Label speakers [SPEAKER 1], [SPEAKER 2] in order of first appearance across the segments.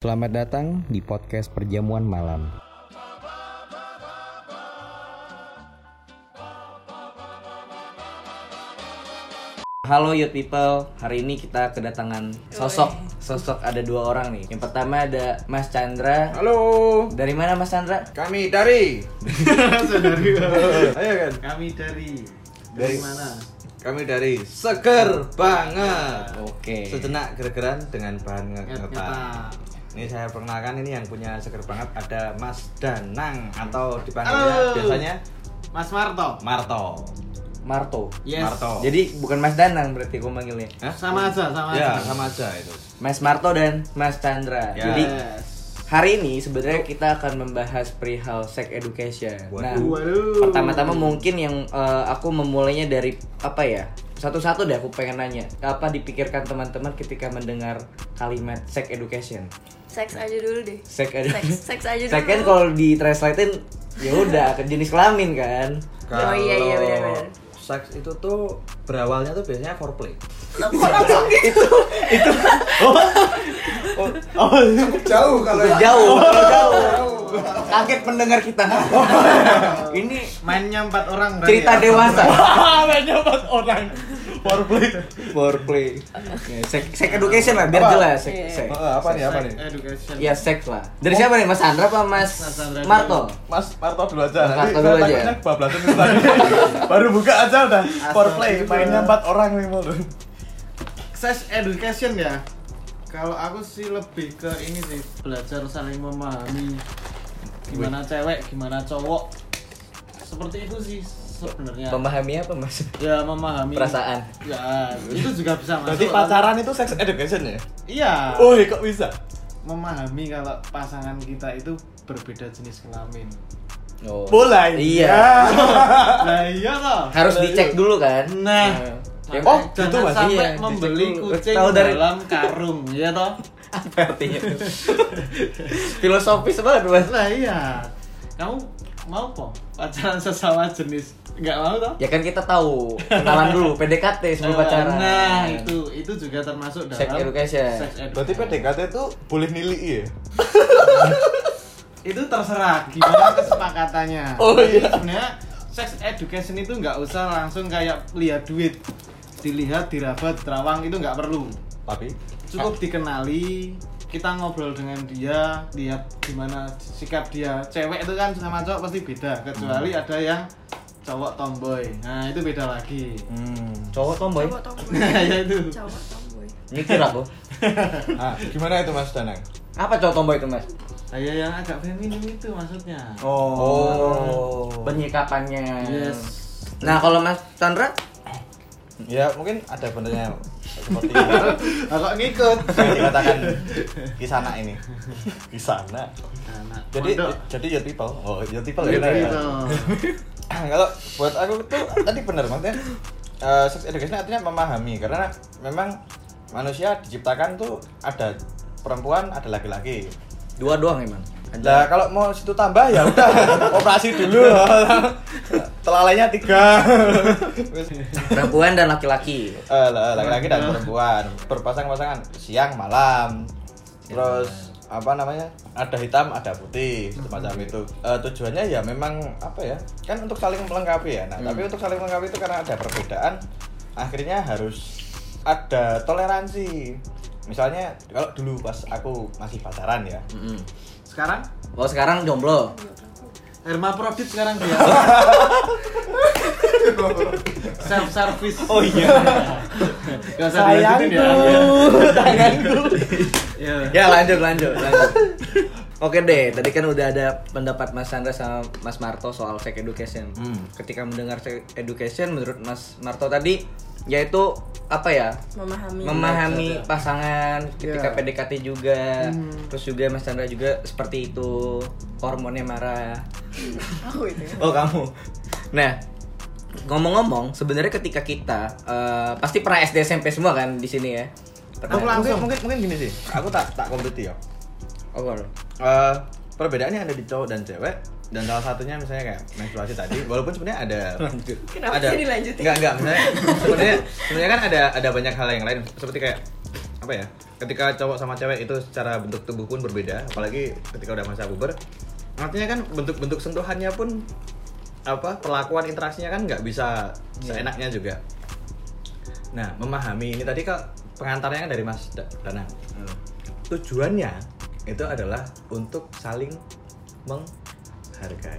[SPEAKER 1] Selamat datang di podcast Perjamuan Malam. Halo youth people, hari ini kita kedatangan sosok sosok ada dua orang nih. Yang pertama ada Mas Chandra.
[SPEAKER 2] Halo,
[SPEAKER 1] Dari mana Mas Chandra?
[SPEAKER 2] kami dari Ayo kan,
[SPEAKER 3] Kami dari
[SPEAKER 2] Dari-
[SPEAKER 3] dari, mana?
[SPEAKER 2] kami dari Seger Banget
[SPEAKER 1] Oke.
[SPEAKER 2] Sejenak gergeran dengan bahan nge-
[SPEAKER 3] Nyata.
[SPEAKER 2] ngepak Ini saya perkenalkan ini yang punya Seger Banget ada Mas Danang Atau dipanggilnya
[SPEAKER 3] Halo.
[SPEAKER 2] biasanya
[SPEAKER 3] Mas Marto.
[SPEAKER 2] Marto
[SPEAKER 1] Marto.
[SPEAKER 3] Yes.
[SPEAKER 2] Marto.
[SPEAKER 1] Jadi bukan Mas Danang berarti gue manggilnya.
[SPEAKER 2] Hah?
[SPEAKER 3] Sama aja, sama
[SPEAKER 2] Ya,
[SPEAKER 3] aja.
[SPEAKER 2] sama aja itu
[SPEAKER 1] Mas Marto dan Mas Chandra.
[SPEAKER 2] Ya.
[SPEAKER 1] Jadi
[SPEAKER 3] Yes.
[SPEAKER 1] Hari ini sebenarnya kita akan membahas perihal sex education. Nah,
[SPEAKER 2] Waduh.
[SPEAKER 3] Waduh.
[SPEAKER 1] pertama-tama mungkin yang eh, aku memulainya dari apa ya? Satu-satu deh aku pengen nanya. Apa dipikirkan teman-teman ketika mendengar kalimat sex education?
[SPEAKER 4] Seks aja dulu deh.
[SPEAKER 1] Sex
[SPEAKER 4] Seks,
[SPEAKER 1] education.
[SPEAKER 4] seks aja dulu.
[SPEAKER 1] Sex kan kalau ditranslatein ya udah ke jenis kelamin kan.
[SPEAKER 4] Oh, iya, iya, benar-benar.
[SPEAKER 2] Seks itu tuh berawalnya tuh biasanya foreplay Jauh kalau
[SPEAKER 1] Udah jauh, udah jauh. Oh. Kaget pendengar kita. Ini
[SPEAKER 3] mainnya empat orang berarti
[SPEAKER 1] cerita
[SPEAKER 3] ya?
[SPEAKER 1] dewasa.
[SPEAKER 5] Banyak banget orang Warplay
[SPEAKER 1] Foreplay. Ya, sex, sex education lah biar
[SPEAKER 2] Apa?
[SPEAKER 1] jelas. Sex,
[SPEAKER 4] Iya.
[SPEAKER 1] sex.
[SPEAKER 2] Eh, Apa nih, apa nih?
[SPEAKER 3] Sex Education.
[SPEAKER 1] Ya seks lah. Dari siapa nih? Mas Andra apa Mas
[SPEAKER 3] Mas Andra
[SPEAKER 1] Marto?
[SPEAKER 5] Mas Marto dulu aja
[SPEAKER 1] Mas
[SPEAKER 5] nanti
[SPEAKER 1] Marto dulu
[SPEAKER 5] saya
[SPEAKER 1] aja.
[SPEAKER 5] takutnya kebablasan itu tadi. Baru buka aja udah Warplay
[SPEAKER 1] gitu.
[SPEAKER 3] Astagfirullah.
[SPEAKER 5] mainnya empat orang nih mulu
[SPEAKER 3] Sex education ya. Kalau aku sih lebih ke ini sih, belajar saling memahami gimana cewek, gimana cowok. Seperti itu sih sebenarnya.
[SPEAKER 1] Memahami apa Mas?
[SPEAKER 3] Ya memahami
[SPEAKER 1] Perasaan.
[SPEAKER 3] Ya, itu juga bisa masuk.
[SPEAKER 5] Berarti pacaran itu sex education ya?
[SPEAKER 3] Iya.
[SPEAKER 5] Woi kok bisa?
[SPEAKER 3] memahami kalau pasangan kita itu berbeda jenis kelamin.
[SPEAKER 1] Oh.
[SPEAKER 5] Bola ini.
[SPEAKER 1] Iya.
[SPEAKER 5] Ya.
[SPEAKER 3] Nah, iya toh.
[SPEAKER 1] Harus dicek dulu kan.
[SPEAKER 3] Nah,
[SPEAKER 1] Ya,
[SPEAKER 5] oh,
[SPEAKER 3] jangan
[SPEAKER 5] gitu Mas.
[SPEAKER 3] sampai
[SPEAKER 1] Iya,
[SPEAKER 3] membeli
[SPEAKER 1] dicek dulu.
[SPEAKER 3] kucing
[SPEAKER 1] Tahu dari-
[SPEAKER 3] dalam karung, ya toh.
[SPEAKER 1] Apa artinya? Filosofis banget Mas.
[SPEAKER 3] Lah iya. Kamu mau po pacaran sesama jenis? Enggak mau toh?
[SPEAKER 1] Ya kan kita tahu kenalan dulu PDKT sebelum Ya, pacaran.
[SPEAKER 3] Nah, itu itu juga termasuk dalam
[SPEAKER 1] Sex education.
[SPEAKER 3] sex education.
[SPEAKER 5] Berarti PDKT itu boleh nilai ya?
[SPEAKER 3] itu terserah gimana kesepakatannya.
[SPEAKER 5] Oh, iya.
[SPEAKER 3] Sebenarnya sex education itu nggak usah langsung kayak lihat duit, dilihat, diraba, terawang itu nggak perlu.
[SPEAKER 5] Tapi
[SPEAKER 3] Cukup dikenali, kita ngobrol dengan dia, lihat gimana sikap dia. Cewek itu kan sama cowok pasti beda, kecuali
[SPEAKER 5] Hmm.
[SPEAKER 3] ada yang cowok tomboy. Nah itu beda lagi.
[SPEAKER 1] Cowok tomboy. Iya,
[SPEAKER 4] Cowok tomboy.
[SPEAKER 3] Nah ya itu.
[SPEAKER 4] Cowok tomboy.
[SPEAKER 1] Mikir aku.
[SPEAKER 5] ah, gimana itu Mas Danang?
[SPEAKER 1] Apa cowok tomboy itu Mas?
[SPEAKER 3] Kayak yang agak feminim itu maksudnya.
[SPEAKER 1] Oh. Penyikapannya.
[SPEAKER 3] Yes.
[SPEAKER 1] Nah, kalau Mas Chandra
[SPEAKER 5] Ya mungkin ada benernya seperti yang
[SPEAKER 1] Nah,
[SPEAKER 3] Agak ngikut.
[SPEAKER 5] dikatakan Kisana ini Kisana
[SPEAKER 3] Anak
[SPEAKER 5] Jadi,
[SPEAKER 3] pondok.
[SPEAKER 5] jadi ya people Oh ya people
[SPEAKER 3] Nah, Gitu.
[SPEAKER 5] ya kalau buat aku tuh tadi bener maksudnya eh, sex education artinya memahami karena memang manusia diciptakan tuh ada perempuan ada laki-laki
[SPEAKER 1] dua doang emang.
[SPEAKER 5] nah kalau mau situ tambah ya udah operasi dulu telalainya tiga Terus,
[SPEAKER 1] Perempuan dan laki-laki.
[SPEAKER 5] eh, laki-laki dan
[SPEAKER 3] Nah.
[SPEAKER 5] perempuan berpasang-pasangan siang malam terus apa namanya ada hitam ada putih semacam
[SPEAKER 3] Hmm.
[SPEAKER 5] itu Eh, tujuannya ya memang apa ya kan untuk saling melengkapi ya nah
[SPEAKER 3] Hmm.
[SPEAKER 5] tapi untuk saling melengkapi itu karena ada perbedaan akhirnya harus ada toleransi misalnya kalau dulu pas aku masih pacaran ya
[SPEAKER 1] Mm-mm.
[SPEAKER 3] Sekarang
[SPEAKER 1] Kalau sekarang jomblo.
[SPEAKER 3] Hermaprodit sekarang dia. Self service.
[SPEAKER 5] Oh iya.
[SPEAKER 3] Gak usah dilanjutin ya. Ya.
[SPEAKER 1] ya lanjut lanjut lanjut Oke deh, tadi kan udah ada pendapat Mas Chandra sama Mas Marto soal sex education.
[SPEAKER 5] Hmm.
[SPEAKER 1] Ketika mendengar sex education, menurut Mas Marto tadi, yaitu apa ya?
[SPEAKER 4] Memahami.
[SPEAKER 1] Memahami pasangan ketika
[SPEAKER 3] Ya.
[SPEAKER 1] PDKT juga,
[SPEAKER 3] Hmm.
[SPEAKER 1] terus juga Mas Chandra juga seperti itu hormonnya marah.
[SPEAKER 4] Aku itu. ya.
[SPEAKER 1] Oh kamu. Nah, ngomong-ngomong, sebenarnya ketika kita eh, pasti pernah SD SMP semua kan di sini ya. Pernah.
[SPEAKER 3] Aku lang-
[SPEAKER 5] mungkin,
[SPEAKER 3] Langsung.
[SPEAKER 5] Nah, mungkin mungkin gini sih aku tak tak komplit ya
[SPEAKER 1] Oh, baru.
[SPEAKER 5] Eh, perbedaannya ada di cowok dan cewek dan salah satunya misalnya kayak menstruasi tadi walaupun sebenarnya ada
[SPEAKER 4] Kenapa
[SPEAKER 5] ada
[SPEAKER 4] sih dilanjutin?
[SPEAKER 5] enggak enggak misalnya sebenarnya sebenarnya kan ada ada banyak hal yang lain seperti kayak apa
[SPEAKER 6] apa ya ketika cowok sama cewek itu secara bentuk tubuh pun berbeda apalagi ketika udah masa puber artinya kan bentuk-bentuk sentuhannya pun apa perlakuan interaksinya kan nggak bisa
[SPEAKER 4] Iya.
[SPEAKER 6] seenaknya juga nah memahami ini tadi kak pengantarnya kan dari Mas Da- Danang tujuannya itu adalah untuk saling menghargai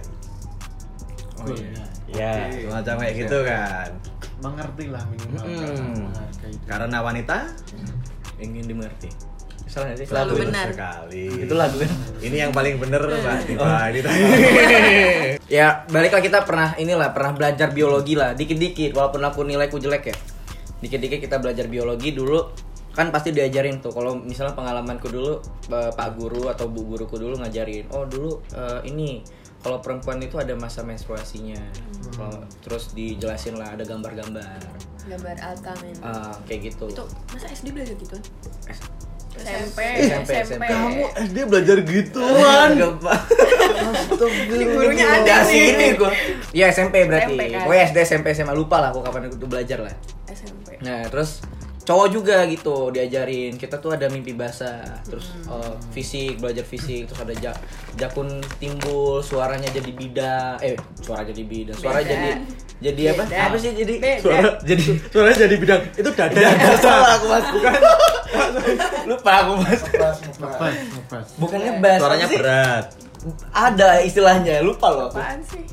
[SPEAKER 5] Oh iya.
[SPEAKER 6] ya
[SPEAKER 5] Oke.
[SPEAKER 6] semacam kayak gitu kan
[SPEAKER 3] mengerti lah minimal
[SPEAKER 6] Mm-mm.
[SPEAKER 3] perasaan menghargai.
[SPEAKER 6] karena wanita
[SPEAKER 1] ingin dimengerti salah nggak sih
[SPEAKER 4] Selalu benar.
[SPEAKER 6] sekali
[SPEAKER 1] itu lagu kan
[SPEAKER 6] ini yang paling bener mbak
[SPEAKER 5] Oh.
[SPEAKER 6] Diva ini tadi
[SPEAKER 1] ya baliklah kita pernah inilah pernah belajar biologi lah dikit-dikit walaupun aku nilaiku jelek ya dikit-dikit kita belajar biologi dulu kan pasti diajarin tuh kalau misalnya pengalamanku dulu eh, pak guru atau bu guruku dulu ngajarin oh dulu eh, ini kalau perempuan itu ada masa menstruasinya Kalau- terus dijelasin lah ada gambar-gambar
[SPEAKER 4] Gambar Alka men.
[SPEAKER 1] Ah, kayak gitu
[SPEAKER 4] Itu masa SD belajar gitu?
[SPEAKER 1] S-
[SPEAKER 4] SMP,
[SPEAKER 1] SMP.
[SPEAKER 4] SMP.
[SPEAKER 1] Kamu
[SPEAKER 6] SD belajar
[SPEAKER 5] gitu.
[SPEAKER 6] gituan
[SPEAKER 1] Tuan Gurunya
[SPEAKER 4] ada nih.
[SPEAKER 1] sini gua. Iya SMP berarti.
[SPEAKER 4] SMP kan?
[SPEAKER 1] Pokoknya SD SMP SMA lupa lah aku kapan itu belajar lah.
[SPEAKER 4] SMP.
[SPEAKER 1] Nah, terus cowok juga gitu diajarin kita tuh ada mimpi basah terus
[SPEAKER 4] Hmm.
[SPEAKER 1] eh, fisik belajar fisik terus ada ja- jakun timbul suaranya jadi bida eh suara jadi bida suara
[SPEAKER 4] Beda.
[SPEAKER 1] jadi jadi apa
[SPEAKER 4] Beda.
[SPEAKER 1] apa sih jadi
[SPEAKER 4] Beda.
[SPEAKER 1] suara jadi
[SPEAKER 6] suaranya jadi bidang itu dada
[SPEAKER 1] salah aku mas bukan lupa aku mas
[SPEAKER 3] Ngebas, ngebas.
[SPEAKER 1] bukan ngebas
[SPEAKER 6] suaranya
[SPEAKER 1] Apa sih?
[SPEAKER 6] berat
[SPEAKER 1] ada istilahnya lupa loh aku.
[SPEAKER 4] Apaan sih?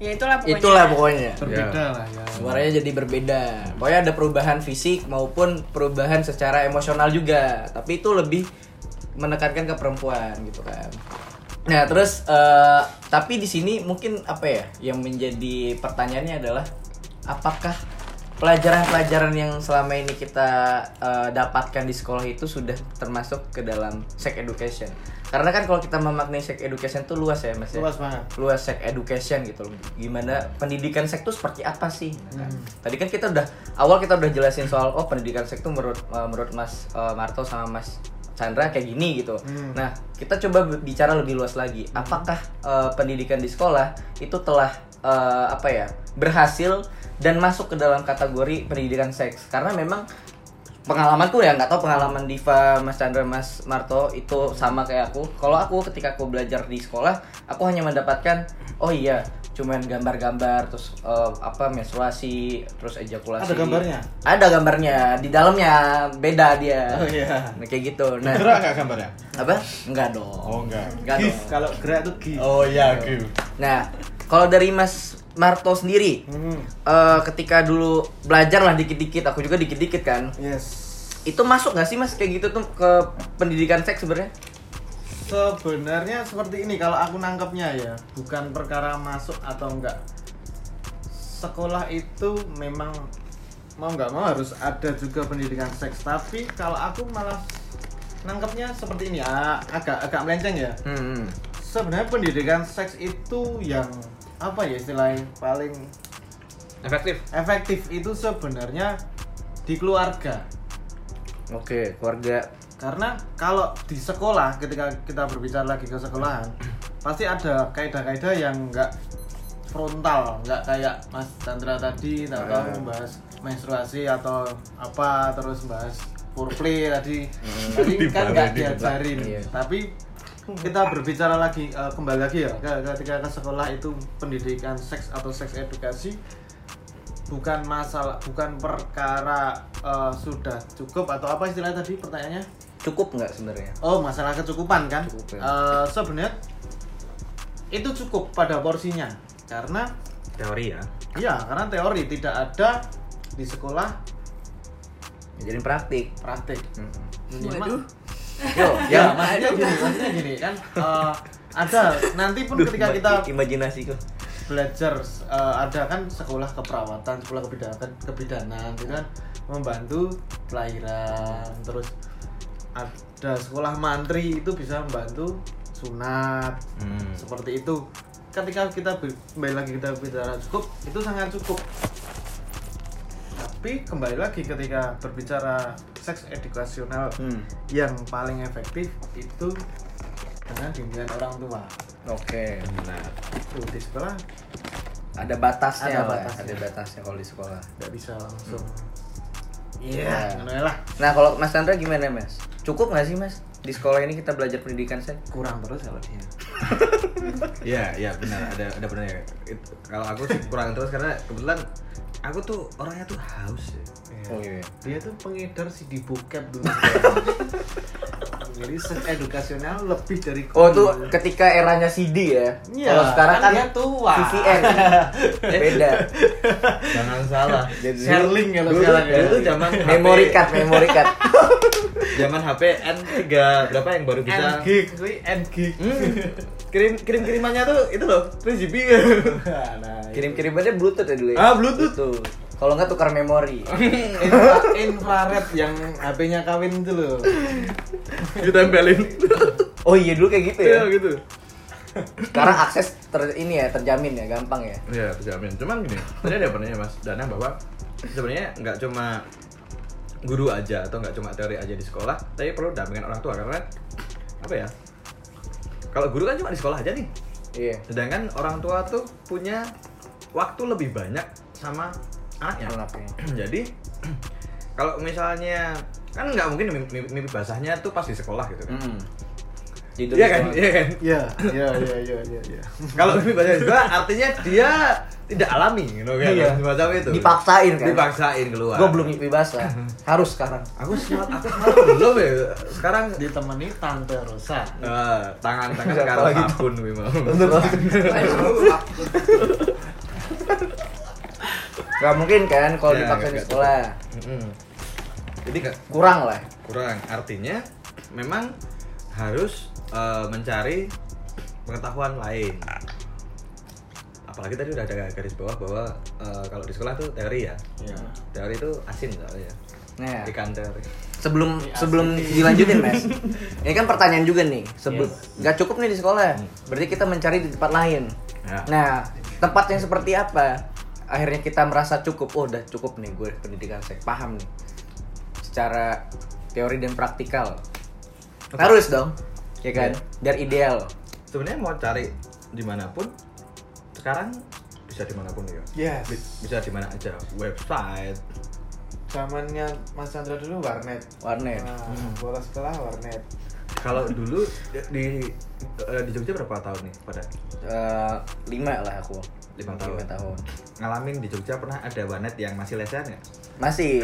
[SPEAKER 4] Ya itulah pokoknya.
[SPEAKER 1] itulah pokoknya
[SPEAKER 3] Berbeda lah ya.
[SPEAKER 1] suaranya jadi berbeda pokoknya ada perubahan fisik maupun perubahan secara emosional juga tapi itu lebih menekankan ke perempuan gitu kan nah terus eh, tapi di sini mungkin apa ya yang menjadi pertanyaannya adalah apakah pelajaran-pelajaran yang selama ini kita eh, dapatkan di sekolah itu sudah termasuk ke dalam sex education karena kan kalau kita memaknai sex education tuh luas ya mas ya?
[SPEAKER 3] Luas banget.
[SPEAKER 1] luas sex education gitu loh. Gimana pendidikan seks itu seperti apa sih? Kan. Tadi kan kita udah awal kita udah jelasin soal oh pendidikan seks itu menurut eh, menurut Mas eh, Marto sama Mas Chandra kayak gini gitu.
[SPEAKER 3] Hmm.
[SPEAKER 1] Nah, kita coba be- bicara lebih luas lagi. Apakah eh, pendidikan di sekolah itu telah eh, apa ya? berhasil dan masuk ke dalam kategori pendidikan seks? Karena memang pengalamanku ya nggak tahu pengalaman Diva, Mas Chandra, Mas Marto itu sama kayak aku. Kalau aku ketika aku belajar di sekolah, aku hanya mendapatkan oh iya cuman gambar-gambar terus eh, apa menstruasi terus ejakulasi
[SPEAKER 3] Ada gambarnya?
[SPEAKER 1] ada gambarnya di dalamnya beda dia
[SPEAKER 3] Oh, iya.
[SPEAKER 1] Nah, kayak gitu nah
[SPEAKER 6] gerak nggak gambarnya
[SPEAKER 1] apa enggak dong
[SPEAKER 6] oh enggak
[SPEAKER 1] enggak
[SPEAKER 3] Gif,
[SPEAKER 1] dong
[SPEAKER 3] kalau gerak tuh gif.
[SPEAKER 6] oh iya gitu
[SPEAKER 1] nah kalau dari Mas Marto sendiri
[SPEAKER 3] Hmm.
[SPEAKER 1] eh, ketika dulu belajar lah dikit-dikit aku juga dikit-dikit kan
[SPEAKER 3] Yes.
[SPEAKER 1] itu masuk nggak sih mas kayak gitu tuh ke pendidikan seks sebenarnya
[SPEAKER 3] Sebenarnya seperti ini kalau aku nangkepnya ya, bukan perkara masuk atau enggak. Sekolah itu memang mau nggak mau harus ada juga pendidikan seks, tapi kalau aku malah nangkepnya seperti ini, ah, agak agak melenceng ya.
[SPEAKER 1] hmm.
[SPEAKER 3] Sebenarnya pendidikan seks itu yang apa ya istilahnya paling
[SPEAKER 6] efektif
[SPEAKER 3] efektif itu sebenarnya di keluarga.
[SPEAKER 1] oke keluarga
[SPEAKER 3] karena kalau di sekolah ketika kita berbicara lagi ke sekolahan pasti ada kaidah-kaidah yang nggak frontal nggak kayak Mas Chandra tadi tahu tahu membahas menstruasi atau apa terus membahas foreplay tadi tadi kan nggak diajarin
[SPEAKER 1] Iya.
[SPEAKER 3] tapi kita berbicara lagi eh, kembali lagi ya ke- ketika ke sekolah itu pendidikan seks atau seks edukasi bukan masalah bukan perkara eh, sudah cukup atau apa istilahnya tadi pertanyaannya
[SPEAKER 1] cukup nggak sebenarnya
[SPEAKER 3] Oh, masalah kecukupan kan?
[SPEAKER 1] Cukup, ya.
[SPEAKER 3] Eh, Sebenarnya itu cukup pada porsinya karena
[SPEAKER 6] teori ya
[SPEAKER 3] ya karena teori tidak ada di sekolah
[SPEAKER 1] jadi praktik
[SPEAKER 3] praktik.
[SPEAKER 4] Waduh.
[SPEAKER 3] Minimal.
[SPEAKER 1] yo
[SPEAKER 3] Ya,
[SPEAKER 1] ya
[SPEAKER 3] maksudnya gini, maksudnya gini kan eh, ada nanti pun ketika kita
[SPEAKER 1] imajinasi kok
[SPEAKER 3] belajar eh, ada kan sekolah keperawatan, sekolah kebidanan, kebidanan itu kan membantu kelahiran. Terus ada sekolah mantri itu bisa membantu sunat.
[SPEAKER 6] Hmm.
[SPEAKER 3] Seperti itu. Ketika kita be- kembali lagi kita bicara cukup, itu sangat cukup. Tapi kembali lagi ketika berbicara seks edukasional
[SPEAKER 1] Hmm.
[SPEAKER 3] yang paling efektif itu dengan bimbingan orang tua.
[SPEAKER 1] oke
[SPEAKER 6] nah
[SPEAKER 3] Tuh, di sekolah
[SPEAKER 1] ada batasnya
[SPEAKER 3] Ada
[SPEAKER 1] Pak.
[SPEAKER 3] batasnya.
[SPEAKER 1] ada batasnya kalau di sekolah
[SPEAKER 3] nggak bisa langsung Iya, ngono ae lah.
[SPEAKER 1] Nah kalau Mas Chandra gimana Mas? Cukup nggak sih Mas? Di sekolah ini kita belajar pendidikan saya.
[SPEAKER 5] kurang terus kalau dia Iya, iya benar ada ada benar ya. It- Kalau aku sih kurang terus karena kebetulan aku tuh orangnya tuh haus ya.
[SPEAKER 6] Oh iya.
[SPEAKER 3] Dia tuh pengedar CD bokep dulu. Jadi search edukasional lebih dari
[SPEAKER 1] Oh tuh ketika eranya CD ya.
[SPEAKER 3] Iya,
[SPEAKER 1] Kalau sekarang
[SPEAKER 3] kan
[SPEAKER 1] kan
[SPEAKER 3] dia tua.
[SPEAKER 1] VVN. Beda.
[SPEAKER 6] Jangan salah.
[SPEAKER 1] Jadi
[SPEAKER 3] Sherling kalau
[SPEAKER 5] Dulu-
[SPEAKER 3] sekarang ya.
[SPEAKER 5] dulu zaman HP
[SPEAKER 1] memory card, memory card.
[SPEAKER 5] Zaman HP N3 berapa yang baru bisa
[SPEAKER 3] N gig, kuwi N gig.
[SPEAKER 5] Hmm, kirim kirim kirimannya tuh itu loh 3GB iya.
[SPEAKER 3] Nah,
[SPEAKER 1] Kirim-kirimannya Bluetooth ya dulu ya.
[SPEAKER 5] Ah, Bluetooth.
[SPEAKER 1] Kalau nggak tukar memori.
[SPEAKER 3] infra- infrared yang HP-nya kawin itu loh.
[SPEAKER 5] ditempelin
[SPEAKER 1] Oh iya dulu kayak gitu ya.
[SPEAKER 5] iya gitu
[SPEAKER 1] Sekarang akses ter ini ya terjamin ya, gampang ya.
[SPEAKER 5] Iya, terjamin. Cuman gini, tadi ada pertanyaan Mas Danang bahwa sebenarnya nggak cuma guru aja atau nggak cuma teori aja di sekolah, tapi perlu dampingan orang tua karena apa ya? Kalau guru kan cuma di sekolah aja nih.
[SPEAKER 1] Iya.
[SPEAKER 5] Sedangkan orang tua tuh punya waktu lebih banyak sama anaknya.
[SPEAKER 1] Anaknya.
[SPEAKER 5] Jadi kalau misalnya kan nggak mungkin mimpi, mimpi basahnya tuh pas di sekolah gitu kan.
[SPEAKER 1] Mm. Gitu
[SPEAKER 5] Iya kan?
[SPEAKER 1] doang.
[SPEAKER 5] Iya kan?
[SPEAKER 3] Iya, iya, iya, iya, iya, iya.
[SPEAKER 5] Kalau mimpi basah juga artinya dia tidak alami gitu kan.
[SPEAKER 1] Iya.
[SPEAKER 5] Semacam itu.
[SPEAKER 1] Dipaksain kan.
[SPEAKER 5] dipaksain keluar
[SPEAKER 1] Gue belum mimpi basah. Harus sekarang.
[SPEAKER 5] aku semalam aku semalam belum ya sekarang
[SPEAKER 3] Ditemani Tante Rosa.
[SPEAKER 5] eh, tangan tangan
[SPEAKER 1] Siapa
[SPEAKER 5] sekarang
[SPEAKER 1] lagi
[SPEAKER 5] sabun memang
[SPEAKER 1] Gak mungkin kan kalau
[SPEAKER 5] Ya,
[SPEAKER 1] dipaksa
[SPEAKER 5] nggak-
[SPEAKER 1] di
[SPEAKER 5] nggak
[SPEAKER 1] sekolah.
[SPEAKER 5] Mm-mm. jadi nggak
[SPEAKER 1] Kurang lah.
[SPEAKER 5] kurang artinya memang harus eh, mencari pengetahuan lain apalagi tadi udah ada garis bawah bahwa eh, kalau di sekolah tuh teori ya
[SPEAKER 3] Iya.
[SPEAKER 5] teori itu asin soalnya ya.
[SPEAKER 1] Nah,
[SPEAKER 5] ikan teori
[SPEAKER 1] sebelum sebelum dilanjutin, Mas. Ini kan pertanyaan juga nih. Sebelum nggak cukup nih di sekolah. Berarti kita mencari di tempat lain.
[SPEAKER 5] Hmm. Ya.
[SPEAKER 1] Nah, tempat yang seperti apa? Akhirnya kita merasa cukup. Oh, udah cukup nih gue pendidikan saya paham nih. Secara teori dan praktikal. Harus dong. Ya kan?
[SPEAKER 5] Iya.
[SPEAKER 1] Biar ideal.
[SPEAKER 5] sebenarnya mau cari dimanapun sekarang bisa dimanapun ya
[SPEAKER 3] Yes.
[SPEAKER 5] Bi- bisa di mana aja website
[SPEAKER 3] Zamannya Mas Chandra dulu warnet.
[SPEAKER 1] Warnet.
[SPEAKER 5] Ah.
[SPEAKER 1] Hmm.
[SPEAKER 3] Nah, bola sekolah warnet.
[SPEAKER 5] kalau dulu di di, eh, di Jogja berapa tahun nih pada
[SPEAKER 1] Eh, lima lah aku.
[SPEAKER 5] Lima tahun.
[SPEAKER 1] Lima tahun.
[SPEAKER 5] ngalamin di Jogja pernah ada warnet yang masih lesehan ya
[SPEAKER 1] Masih.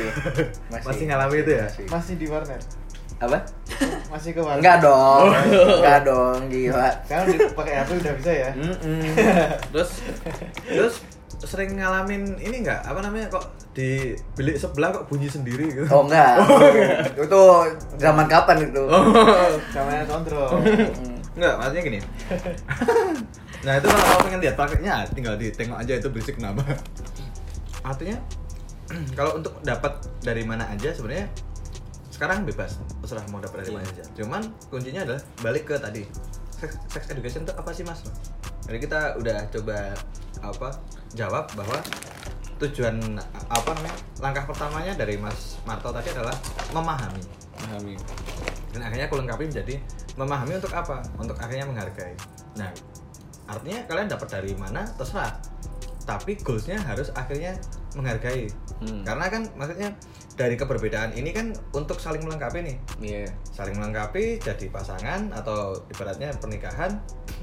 [SPEAKER 5] masih, ngalamin itu ya
[SPEAKER 1] Masih.
[SPEAKER 3] Masih di warnet.
[SPEAKER 1] Apa?
[SPEAKER 3] Masih ke warnet.
[SPEAKER 1] Enggak dong.
[SPEAKER 5] Oh.
[SPEAKER 1] Enggak dong, gila.
[SPEAKER 3] Sekarang dipakai HP udah bisa ya.
[SPEAKER 1] Mm-mm.
[SPEAKER 5] terus terus sering ngalamin ini nggak apa namanya kok di bilik sebelah kok bunyi sendiri gitu
[SPEAKER 1] Oh enggak. Oh. itu zaman kapan itu?
[SPEAKER 5] Oh.
[SPEAKER 3] Zamannya kontrol.
[SPEAKER 1] Mm.
[SPEAKER 5] Enggak, maksudnya gini. nah, itu kalau kamu pengen lihat prakteknya tinggal ditengok aja itu berisik kenapa. Artinya kalau untuk dapat dari mana aja sebenarnya sekarang bebas terserah mau dapat dari mana aja. Cuman kuncinya adalah balik ke tadi. Sex, sex education itu apa sih, Mas? Jadi kita udah coba apa jawab bahwa tujuan apa namanya langkah pertamanya dari Mas Marto tadi adalah memahami dan akhirnya aku lengkapi menjadi memahami untuk apa untuk akhirnya menghargai nah artinya kalian dapat dari mana terserah tapi goalsnya harus akhirnya menghargai karena kan maksudnya dari keberbedaan ini kan untuk saling melengkapi nih
[SPEAKER 1] Iya.
[SPEAKER 5] saling melengkapi jadi pasangan atau ibaratnya pernikahan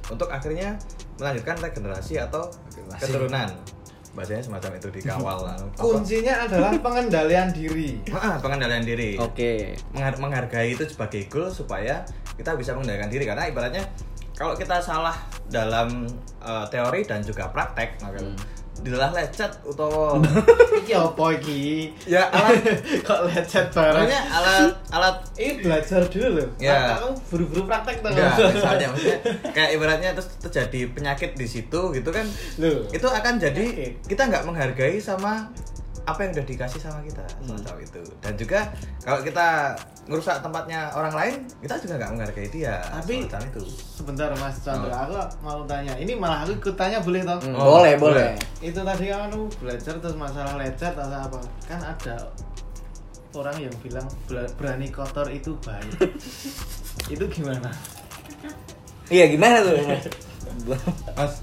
[SPEAKER 5] untuk akhirnya melanjutkan regenerasi atau keturunan bahasanya semacam itu dikawal lah.
[SPEAKER 3] Kuncinya adalah pengendalian diri.
[SPEAKER 5] Ah, pengendalian diri
[SPEAKER 1] Oke.
[SPEAKER 5] menghar- menghargai itu sebagai goal supaya kita bisa mengendalikan diri karena ibaratnya kalau kita salah dalam eh, teori dan juga praktek maka
[SPEAKER 3] Hmm.
[SPEAKER 5] dilalah lecet atau
[SPEAKER 3] Iki opo iki?
[SPEAKER 5] ya alat
[SPEAKER 3] Kok lecet
[SPEAKER 5] sebenarnya
[SPEAKER 3] barang?
[SPEAKER 5] alat alat
[SPEAKER 3] Ini belajar dulu loh.
[SPEAKER 5] Ya.
[SPEAKER 3] Kamu buru-buru praktek tuh.
[SPEAKER 5] enggak misalnya maksudnya kayak ibaratnya terus terjadi penyakit di situ gitu kan
[SPEAKER 3] Loh.
[SPEAKER 5] itu akan
[SPEAKER 3] Penyakit.
[SPEAKER 5] jadi kita nggak menghargai sama apa yang udah dikasih sama kita
[SPEAKER 3] Hmm.
[SPEAKER 5] semacam itu dan juga kalau kita ngerusak tempatnya orang lain kita juga nggak menghargai dia
[SPEAKER 3] Tapi-
[SPEAKER 5] semacam itu
[SPEAKER 3] Sebentar Mas Chandra, aku mau tanya. Ini malah aku ikut tanya boleh toh?
[SPEAKER 1] Mm,
[SPEAKER 5] Oh,
[SPEAKER 1] boleh, boleh.
[SPEAKER 5] boleh.
[SPEAKER 3] Itu tadi kan kamu belajar terus masalah lecet atau apa? Kan ada orang yang bilang "Bela- berani kotor itu baik. itu gimana?
[SPEAKER 1] Iya, gimana tuh?
[SPEAKER 5] Mas.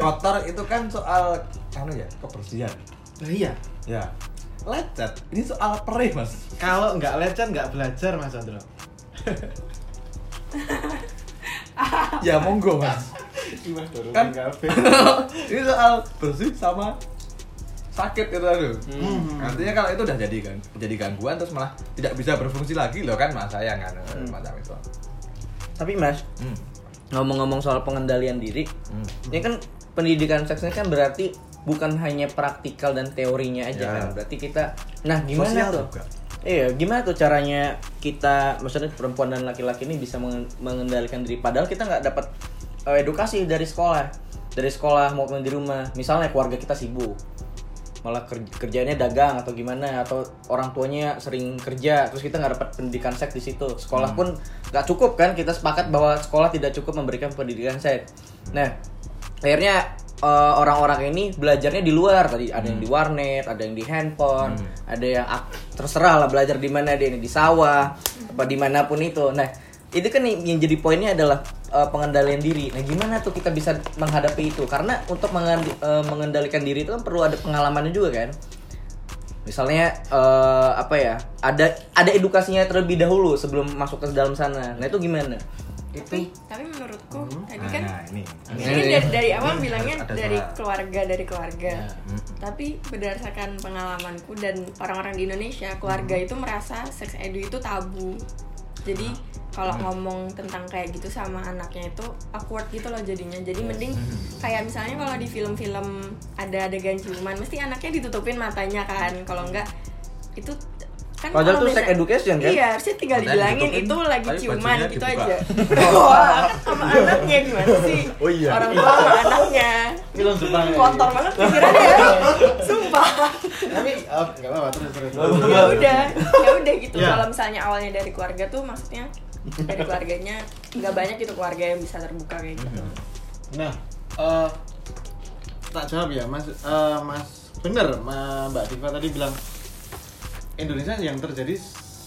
[SPEAKER 5] Kotor itu kan soal anu ya, kebersihan.
[SPEAKER 3] Nah, iya.
[SPEAKER 5] Ya. lecet ini soal perih mas
[SPEAKER 3] Kalau nggak lecet nggak belajar Mas Andro.
[SPEAKER 5] ya monggo mas
[SPEAKER 3] Gimana dulu?
[SPEAKER 5] Kan- ini soal bersih sama sakit itu aduh
[SPEAKER 3] Hmm.
[SPEAKER 5] artinya kalau itu udah jadi kan jadi gangguan terus malah tidak bisa berfungsi lagi loh kan mas sayang kan macam itu
[SPEAKER 1] Tapi Mas,
[SPEAKER 5] Hmm.
[SPEAKER 1] ngomong-ngomong soal pengendalian diri,
[SPEAKER 5] Hmm.
[SPEAKER 1] ini kan pendidikan seksnya kan berarti bukan hanya praktikal dan teorinya aja
[SPEAKER 5] Ya.
[SPEAKER 1] kan. Berarti kita nah gimana
[SPEAKER 5] Sosial
[SPEAKER 1] tuh?
[SPEAKER 5] juga.
[SPEAKER 1] Iya, gimana tuh caranya kita maksudnya perempuan dan laki-laki ini bisa mengen- mengendalikan diri padahal kita nggak dapat eh, edukasi dari sekolah. Dari sekolah maupun di rumah. Misalnya keluarga kita sibuk malah ker- kerjanya dagang atau gimana atau orang tuanya sering kerja terus kita nggak dapat pendidikan seks di situ sekolah
[SPEAKER 5] Hmm.
[SPEAKER 1] pun nggak cukup kan kita sepakat bahwa sekolah tidak cukup memberikan pendidikan seks nah akhirnya eh, orang-orang ini belajarnya di luar tadi ada yang di warnet ada yang di handphone ada yang ak- terserah lah belajar di mana dia ini di sawah apa dimanapun itu nah itu kan yang yang jadi poinnya adalah eh, pengendalian diri. Nah, gimana tuh kita bisa menghadapi itu? Karena untuk mengendi- eh, mengendalikan diri itu kan perlu ada pengalamannya juga kan. Misalnya eh, apa ya? Ada ada edukasinya terlebih dahulu sebelum masuk ke dalam sana. Nah, itu gimana?
[SPEAKER 4] tapi tapi menurutku tadi
[SPEAKER 5] Nah,
[SPEAKER 4] kan
[SPEAKER 5] nah, ini
[SPEAKER 4] ini
[SPEAKER 1] Ini.
[SPEAKER 4] dari, dari awal bilangnya
[SPEAKER 5] Ada
[SPEAKER 4] dari
[SPEAKER 5] suara.
[SPEAKER 4] keluarga dari keluarga
[SPEAKER 1] Ya.
[SPEAKER 4] tapi berdasarkan pengalamanku dan orang-orang di Indonesia keluarga
[SPEAKER 5] Hmm.
[SPEAKER 4] itu merasa seks edu itu tabu jadi
[SPEAKER 5] Ah.
[SPEAKER 4] kalau
[SPEAKER 5] Hmm.
[SPEAKER 4] ngomong tentang kayak gitu sama anaknya itu awkward gitu loh jadinya jadi mending
[SPEAKER 5] Hmm.
[SPEAKER 4] kayak misalnya kalau di film-film ada adegan ciuman mesti anaknya ditutupin matanya kan
[SPEAKER 5] Hmm.
[SPEAKER 4] kalau enggak itu kan
[SPEAKER 1] Padahal tuh
[SPEAKER 4] kalau
[SPEAKER 1] sex
[SPEAKER 4] biasa-
[SPEAKER 1] education kan?
[SPEAKER 4] iya harusnya tinggal
[SPEAKER 5] Matanya
[SPEAKER 4] dibilangin
[SPEAKER 5] ditutupin,
[SPEAKER 4] itu lagi
[SPEAKER 5] tapi
[SPEAKER 4] ciuman
[SPEAKER 5] bajunya
[SPEAKER 4] gitu
[SPEAKER 5] dibuka.
[SPEAKER 4] aja wah kan sama anaknya gimana sih
[SPEAKER 5] Oh iya.
[SPEAKER 4] orang tua sama anaknya
[SPEAKER 3] Film Jepang.
[SPEAKER 1] Iya,
[SPEAKER 3] ya.
[SPEAKER 4] kotor banget pikirannya ya sumpah
[SPEAKER 3] Tapi oh, nggak apa-apa terus terus.
[SPEAKER 4] ya udah ya udah gitu
[SPEAKER 1] Iya.
[SPEAKER 3] Ya.
[SPEAKER 4] kalau misalnya awalnya dari keluarga tuh maksudnya dari keluarganya nggak banyak gitu keluarga yang bisa terbuka
[SPEAKER 1] Iya.
[SPEAKER 4] kayak gitu
[SPEAKER 3] Nah, eh tak jawab ya, Mas. eh mas, bener, Ma- Mbak Diva tadi bilang Indonesia yang terjadi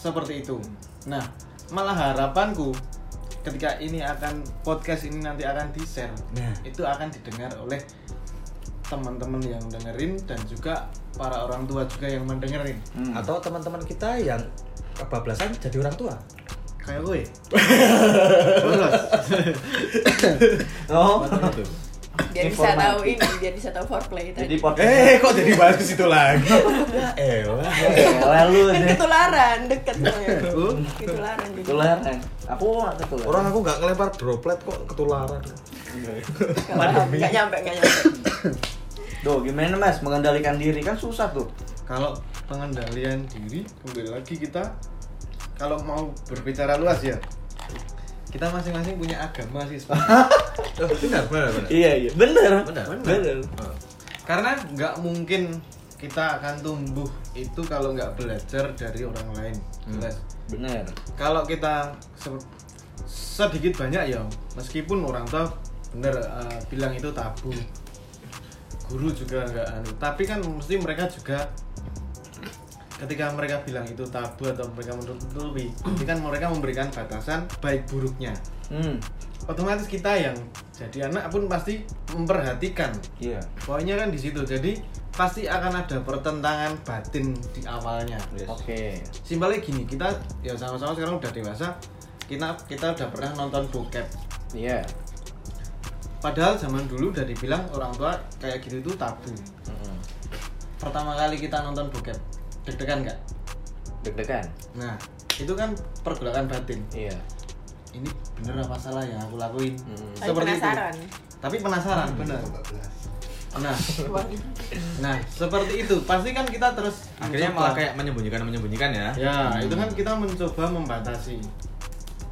[SPEAKER 3] seperti itu. Nah, malah harapanku ketika ini akan podcast ini nanti akan di share,
[SPEAKER 5] Nah.
[SPEAKER 3] itu akan didengar oleh teman-teman yang dengerin dan juga para orang tua juga yang mendengerin.
[SPEAKER 5] atau teman-teman kita yang kebablasan jadi orang tua
[SPEAKER 3] Kayak gue. Bolos.
[SPEAKER 1] Oh.
[SPEAKER 5] Gitu.
[SPEAKER 1] Ini
[SPEAKER 4] biar bisa
[SPEAKER 1] formal.
[SPEAKER 4] tahu ini biar bisa tahu foreplay
[SPEAKER 1] Jadi
[SPEAKER 4] tadi
[SPEAKER 1] podcast.
[SPEAKER 5] eh kok jadi bahas ke situ lagi ya elah
[SPEAKER 1] lalu
[SPEAKER 4] kan ketularan deket tuh ketularan jadi.
[SPEAKER 1] Iya. ketularan. eh. Aku nggak ketularan.
[SPEAKER 5] orang aku nggak ngelempar droplet kok ketularan
[SPEAKER 4] Ketularan. nggak nyampe nggak nyampe
[SPEAKER 1] Duh, gimana Mas mengendalikan diri kan susah tuh.
[SPEAKER 3] kalau pengendalian diri kembali lagi kita kalau mau berbicara luas ya kita masing-masing punya agama sih sebenarnya.
[SPEAKER 5] oh, benar benar benar
[SPEAKER 1] Iya, iya. Bener.
[SPEAKER 5] Bener.
[SPEAKER 1] Bener.
[SPEAKER 5] Oh.
[SPEAKER 3] karena nggak mungkin kita akan tumbuh itu kalau nggak belajar dari orang lain jelas
[SPEAKER 1] Bener.
[SPEAKER 3] kalau kita se- sedikit banyak ya meskipun orang tua bener eh, bilang itu tabu guru juga nggak anu tapi kan mesti mereka juga ketika mereka bilang itu tabu atau mereka menutupi itu kan mereka memberikan batasan baik buruknya
[SPEAKER 1] Hmm.
[SPEAKER 3] otomatis kita yang jadi anak pun pasti memperhatikan
[SPEAKER 1] Iya.
[SPEAKER 3] poinnya kan di situ jadi pasti akan ada pertentangan batin di awalnya
[SPEAKER 1] Oke.
[SPEAKER 3] simpelnya gini kita ya sama-sama sekarang udah dewasa kita kita udah pernah nonton bokep
[SPEAKER 1] Iya.
[SPEAKER 3] padahal zaman dulu udah dibilang orang tua kayak gitu itu tabu
[SPEAKER 1] Hmm.
[SPEAKER 3] pertama kali kita nonton bokep deg-degan nggak
[SPEAKER 1] Deg-degan.
[SPEAKER 3] nah itu kan pergolakan batin
[SPEAKER 1] Iya.
[SPEAKER 3] ini bener apa salah yang aku lakuin
[SPEAKER 5] Hmm.
[SPEAKER 4] Tapi penasaran
[SPEAKER 3] tapi penasaran bener nah
[SPEAKER 4] Waduh.
[SPEAKER 3] nah seperti itu pasti kan kita terus
[SPEAKER 5] akhirnya
[SPEAKER 3] mencoba.
[SPEAKER 5] malah kayak menyembunyikan menyembunyikan ya
[SPEAKER 3] ya itu kan kita mencoba membatasi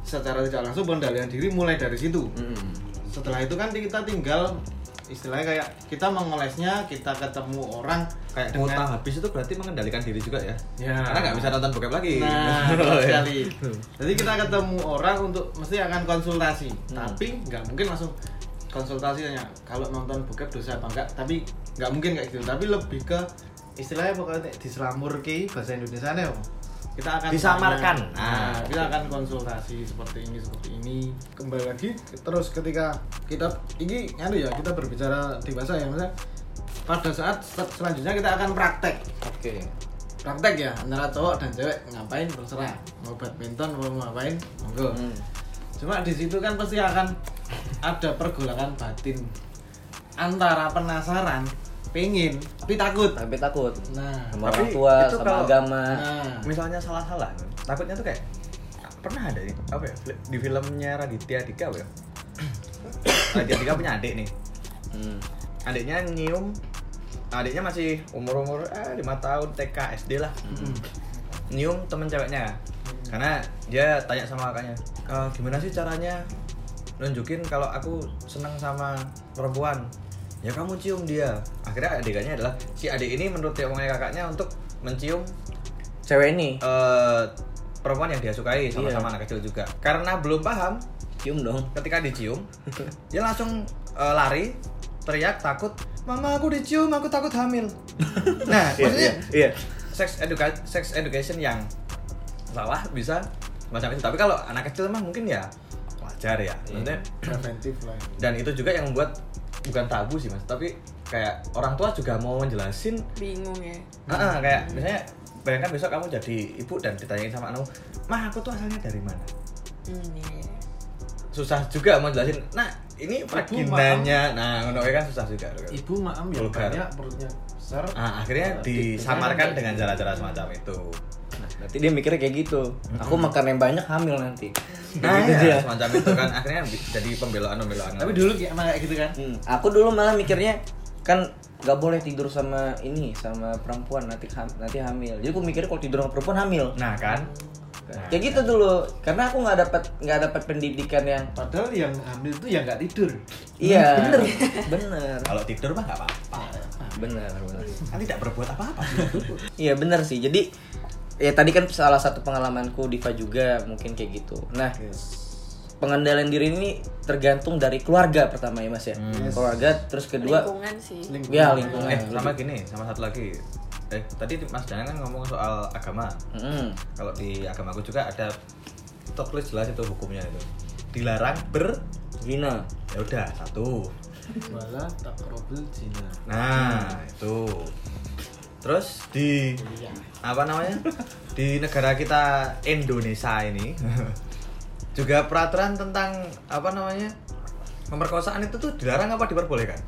[SPEAKER 3] secara tidak langsung pengendalian diri mulai dari situ
[SPEAKER 1] Mm-mm.
[SPEAKER 3] setelah itu kan kita tinggal istilahnya kayak kita mengolesnya kita ketemu orang
[SPEAKER 5] kayak kuota habis itu berarti mengendalikan diri juga ya
[SPEAKER 3] Ya.
[SPEAKER 5] karena nggak bisa nonton bokep lagi
[SPEAKER 3] nah
[SPEAKER 5] Oh,
[SPEAKER 3] benar
[SPEAKER 5] ya.
[SPEAKER 3] sekali jadi kita ketemu orang untuk mesti akan konsultasi tapi nggak mungkin langsung konsultasinya kalau nonton bokep dosa apa enggak tapi nggak mungkin kayak gitu tapi lebih ke istilahnya pokoknya diselamur ke bahasa Indonesia nih kita akan
[SPEAKER 5] Disamarkan. Nah,
[SPEAKER 3] nah, kita akan konsultasi seperti ini seperti ini kembali lagi terus ketika kita ini anu ya kita berbicara dewasa ya maksudnya pada saat sel- selanjutnya kita akan praktek
[SPEAKER 1] Oke.
[SPEAKER 3] praktek ya antara cowok dan cewek ngapain terserah mau badminton mau ngapain monggo cuma di situ kan pasti akan ada pergolakan batin antara penasaran pengen tapi takut
[SPEAKER 1] tapi takut
[SPEAKER 3] nah
[SPEAKER 1] sama
[SPEAKER 5] Tapi
[SPEAKER 1] orang tua
[SPEAKER 5] itu
[SPEAKER 1] sama
[SPEAKER 5] kalau- Hmm.
[SPEAKER 1] agama
[SPEAKER 3] nah
[SPEAKER 5] misalnya salah-salah takutnya tuh kayak pernah ada nih, apa ya fil- di filmnya Raditya Dika apa ya Raditya Dika punya adik nih
[SPEAKER 1] Hmm.
[SPEAKER 5] adiknya nyium adiknya masih umur umur eh, 5 tahun TK SD lah nyium temen ceweknya karena dia tanya sama kakaknya "E, gimana sih caranya nunjukin kalau aku seneng sama perempuan ya kamu cium dia akhirnya adegannya adalah si adik ini menurut omongannya kakaknya untuk mencium
[SPEAKER 1] cewek ini
[SPEAKER 5] eh, perempuan yang dia sukai sama-sama
[SPEAKER 1] Iya.
[SPEAKER 5] anak kecil juga karena belum paham
[SPEAKER 1] cium dong
[SPEAKER 5] ketika dicium dia langsung eh, lari teriak takut mama aku dicium aku takut hamil nah maksudnya
[SPEAKER 6] iya.
[SPEAKER 5] sex educa- sex education yang salah bisa macam itu tapi kalau anak kecil emang mungkin ya wajar
[SPEAKER 6] Iya.
[SPEAKER 5] ya maksudnya
[SPEAKER 3] preventif lah
[SPEAKER 5] dan itu juga yang membuat bukan tabu sih mas tapi kayak orang tua juga mau menjelasin
[SPEAKER 4] bingung ya
[SPEAKER 6] Hmm.
[SPEAKER 5] Ah, ah, kayak misalnya bayangkan besok kamu jadi ibu dan ditanyain sama anakmu mah aku tuh asalnya dari mana
[SPEAKER 4] hmm, iya, iya.
[SPEAKER 5] susah juga mau jelasin nah ini
[SPEAKER 3] Ibu,
[SPEAKER 5] vaginanya nah ngono kayak kan susah juga
[SPEAKER 3] ibu maam ya
[SPEAKER 5] Vulgar.
[SPEAKER 3] banyak perutnya besar
[SPEAKER 5] Ah, akhirnya
[SPEAKER 3] Nah,
[SPEAKER 5] disamarkan
[SPEAKER 3] di-
[SPEAKER 5] dengan cara-cara semacam itu
[SPEAKER 1] berarti dia mikirnya kayak gitu aku makan yang banyak hamil nanti
[SPEAKER 5] Hmm. nah,
[SPEAKER 1] Gitu
[SPEAKER 5] ya,
[SPEAKER 1] dia.
[SPEAKER 5] semacam itu kan akhirnya bi- jadi pembelaan pembelaan
[SPEAKER 3] tapi dulu kayak emang kayak gitu kan
[SPEAKER 1] Hmm, aku dulu malah mikirnya kan nggak boleh tidur sama ini sama perempuan nanti ham- nanti hamil. Jadi aku mikirnya kalau tidur sama perempuan hamil.
[SPEAKER 5] nah kan Nah,
[SPEAKER 1] Kayak gitu dulu karena aku nggak dapat nggak dapat pendidikan yang
[SPEAKER 3] padahal yang hamil tuh yang nggak tidur
[SPEAKER 1] iya bener bener
[SPEAKER 5] kalau tidur mah nggak apa-apa
[SPEAKER 1] bener bener.
[SPEAKER 5] kan tidak berbuat apa-apa
[SPEAKER 1] Iya bener sih. Jadi ya tadi kan salah satu pengalamanku Diva juga mungkin kayak gitu. Nah pengendalian diri ini tergantung dari keluarga pertama ya mas ya. Keluarga terus kedua
[SPEAKER 4] lingkungan sih
[SPEAKER 1] ya lingkungan.
[SPEAKER 5] eh sama gini sama satu lagi eh tadi Mas Danang kan ngomong soal agama
[SPEAKER 1] Mm-mm.
[SPEAKER 5] kalau di agamaku juga ada toklis jelas itu hukumnya itu dilarang ber
[SPEAKER 1] Gina.
[SPEAKER 5] ya udah satu
[SPEAKER 3] malah tak robel jina
[SPEAKER 5] nah itu terus di
[SPEAKER 3] iya
[SPEAKER 5] apa namanya di negara kita Indonesia ini juga peraturan tentang apa namanya pemerkosaan itu tuh dilarang apa diperbolehkan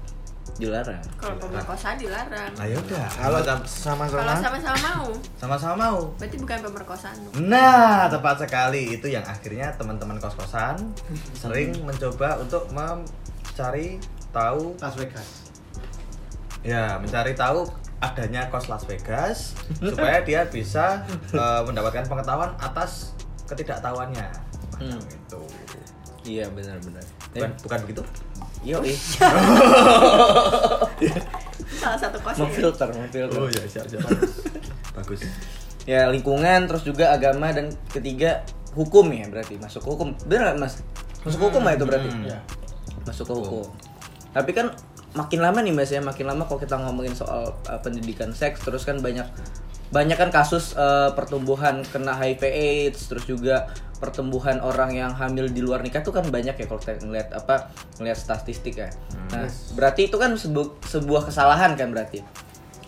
[SPEAKER 1] Dilarang.
[SPEAKER 4] kalau pemerkosa dilarang
[SPEAKER 5] nah ya udah
[SPEAKER 6] Kalau
[SPEAKER 5] Macam-
[SPEAKER 4] kalau
[SPEAKER 6] sama-sama
[SPEAKER 4] sama-sama mau
[SPEAKER 5] sama-sama mau
[SPEAKER 4] berarti bukan pemerkosaan dong.
[SPEAKER 5] Nah, tepat sekali itu yang akhirnya teman-teman kos-kosan sering mencoba untuk mencari tahu
[SPEAKER 3] Las Vegas
[SPEAKER 5] ya, mencari tahu adanya kos Las Vegas supaya dia bisa eh, mendapatkan pengetahuan atas ketidaktahuannya. Macam
[SPEAKER 1] Hmm.
[SPEAKER 5] itu.
[SPEAKER 1] Iya benar-benar.
[SPEAKER 5] Bukan, bukan begitu?
[SPEAKER 1] Yo
[SPEAKER 4] salah satu kos
[SPEAKER 1] mau
[SPEAKER 4] ya.
[SPEAKER 1] filter, mau filter.
[SPEAKER 5] ya, siap, siap. Bagus.
[SPEAKER 1] Ya lingkungan, terus juga agama dan ketiga hukum ya berarti masuk ke hukum. Bener nggak, mas? Masuk ke hukum lah itu berarti.
[SPEAKER 5] Hmm.
[SPEAKER 3] ya
[SPEAKER 1] Masuk ke hukum. Tapi kan makin lama nih mas ya, makin lama kalau kita ngomongin soal uh, pendidikan seks, terus kan banyak banyak kan kasus uh, pertumbuhan kena HIV/AIDS, terus juga pertumbuhan orang yang hamil di luar nikah tuh kan banyak ya kalau kita ngeliat apa ngeliat statistik ya. Nah berarti itu kan sebu- sebuah kesalahan kan berarti.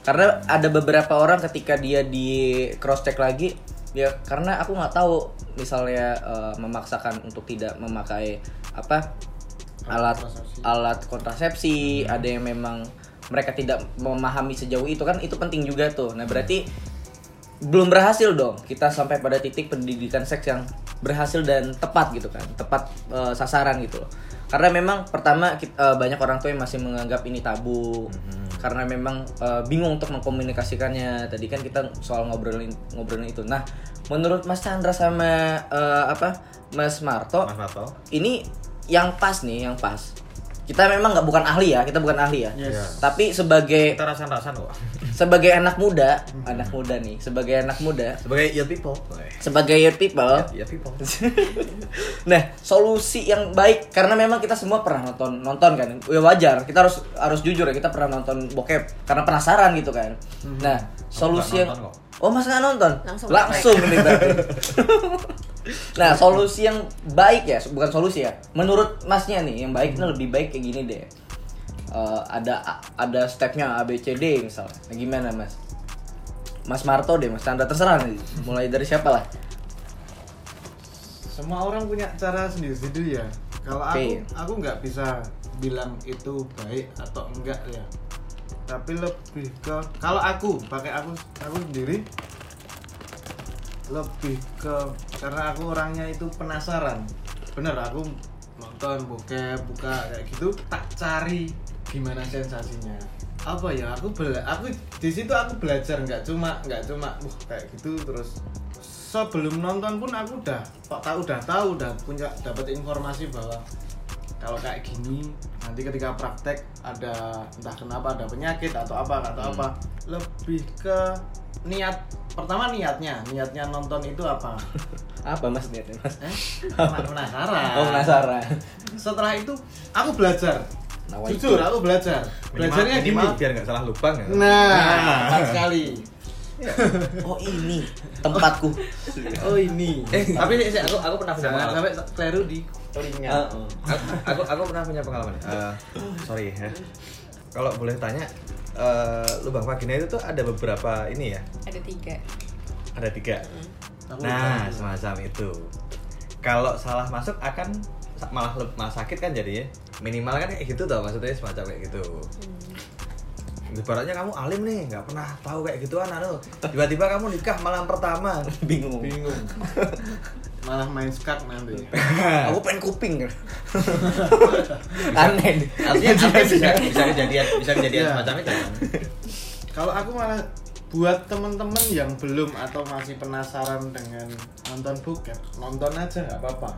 [SPEAKER 1] karena ada beberapa orang ketika dia di cross check lagi ya karena aku nggak tahu misalnya eh, memaksakan untuk tidak memakai apa alat alat kontrasepsi ada yang memang mereka tidak memahami sejauh itu kan itu penting juga tuh nah berarti belum berhasil dong kita sampai pada titik pendidikan seks yang berhasil dan tepat gitu kan tepat eh, sasaran gitu loh karena memang pertama kit- eh, banyak orang tua yang masih menganggap ini tabu karena memang eh, bingung untuk mengkomunikasikannya tadi kan kita soal ngobrolin ngobrolin itu nah menurut Mas Chandra sama eh, apa Mas Marto
[SPEAKER 5] Mas Marto.
[SPEAKER 1] ini yang pas nih yang pas kita memang nggak bukan ahli ya kita bukan ahli ya
[SPEAKER 3] Yes.
[SPEAKER 1] tapi sebagai
[SPEAKER 5] Eh, Kita rasan-rasan kok.
[SPEAKER 1] sebagai anak muda anak muda nih sebagai anak muda
[SPEAKER 5] Sebagai young people.
[SPEAKER 1] sebagai young people
[SPEAKER 5] Ya people.
[SPEAKER 1] nah solusi yang baik karena memang kita semua pernah nonton nonton kan ya wajar kita harus harus jujur ya kita pernah nonton bokep karena penasaran gitu kan nah solusi yang
[SPEAKER 5] Hmm. nonton kok.
[SPEAKER 1] oh mas nggak nonton
[SPEAKER 4] Langsung
[SPEAKER 1] langsung nih berarti nah solusi yang baik ya bukan solusi ya menurut masnya nih yang baik itu
[SPEAKER 5] Hmm.
[SPEAKER 1] lebih baik kayak gini deh Eh, ada ada stepnya A B C D misalnya nah, gimana mas Mas Marto deh, Mas Chandra terserah nih. Mulai dari siapa lah?
[SPEAKER 3] Semua orang punya cara sendiri-sendiri ya. Kalau
[SPEAKER 1] Oke.
[SPEAKER 3] aku aku nggak bisa bilang itu baik atau enggak ya. Tapi lebih ke kalau aku pakai aku aku sendiri lebih ke karena aku orangnya itu penasaran. Bener aku nonton bokep buka kayak gitu tak cari gimana sensasinya apa ya aku bela aku di situ aku belajar nggak cuma nggak cuma wah kayak gitu terus sebelum nonton pun aku udah kok tahu udah tahu udah punya dapat informasi bahwa kalau kayak gini nanti ketika praktek ada entah kenapa ada penyakit atau apa atau
[SPEAKER 1] Hmm.
[SPEAKER 3] apa lebih ke niat pertama niatnya niatnya nonton itu apa
[SPEAKER 1] Apa Mas niatnya, Mas?
[SPEAKER 3] eh
[SPEAKER 5] Ah.
[SPEAKER 3] penasaran
[SPEAKER 1] Oh, penasaran.
[SPEAKER 3] setelah itu aku belajar
[SPEAKER 1] Nah,
[SPEAKER 3] jujur aku belajar belajarnya
[SPEAKER 5] minimal
[SPEAKER 3] gini
[SPEAKER 5] biar nggak salah lubang ya
[SPEAKER 3] nah tepat sekali
[SPEAKER 1] Oh, ini tempatku.
[SPEAKER 3] oh ini
[SPEAKER 5] eh tapi sih, sih, aku aku pernah punya
[SPEAKER 3] jangan
[SPEAKER 5] pengalaman
[SPEAKER 3] sampai kleru di telinga
[SPEAKER 1] Heeh.
[SPEAKER 5] aku, aku aku pernah punya pengalaman Eh, sorry ya kalau boleh tanya eh, lubang vagina itu tuh ada beberapa ini ya
[SPEAKER 4] ada tiga
[SPEAKER 5] ada tiga
[SPEAKER 3] Aku
[SPEAKER 5] nah
[SPEAKER 3] lupa.
[SPEAKER 5] semacam itu kalau salah masuk akan sa- malah leb- malah sakit kan jadinya minimal kan kayak gitu tau maksudnya semacam kayak gitu
[SPEAKER 3] Hmm.
[SPEAKER 5] Ibaratnya kamu alim nih, nggak pernah tahu kayak gituan anu. Tiba-tiba kamu nikah malam pertama.
[SPEAKER 1] Bingung.
[SPEAKER 3] bingung malah main skak nanti
[SPEAKER 1] Aku pengen kuping. Aneh. nih.
[SPEAKER 5] Artinya artinya bisa
[SPEAKER 1] ya?
[SPEAKER 5] bisa kejadian bisa kejadian
[SPEAKER 3] Iya.
[SPEAKER 5] semacam itu. kan?
[SPEAKER 3] kalau aku malah buat temen-temen yang belum atau masih penasaran dengan nonton buket nonton aja nggak apa-apa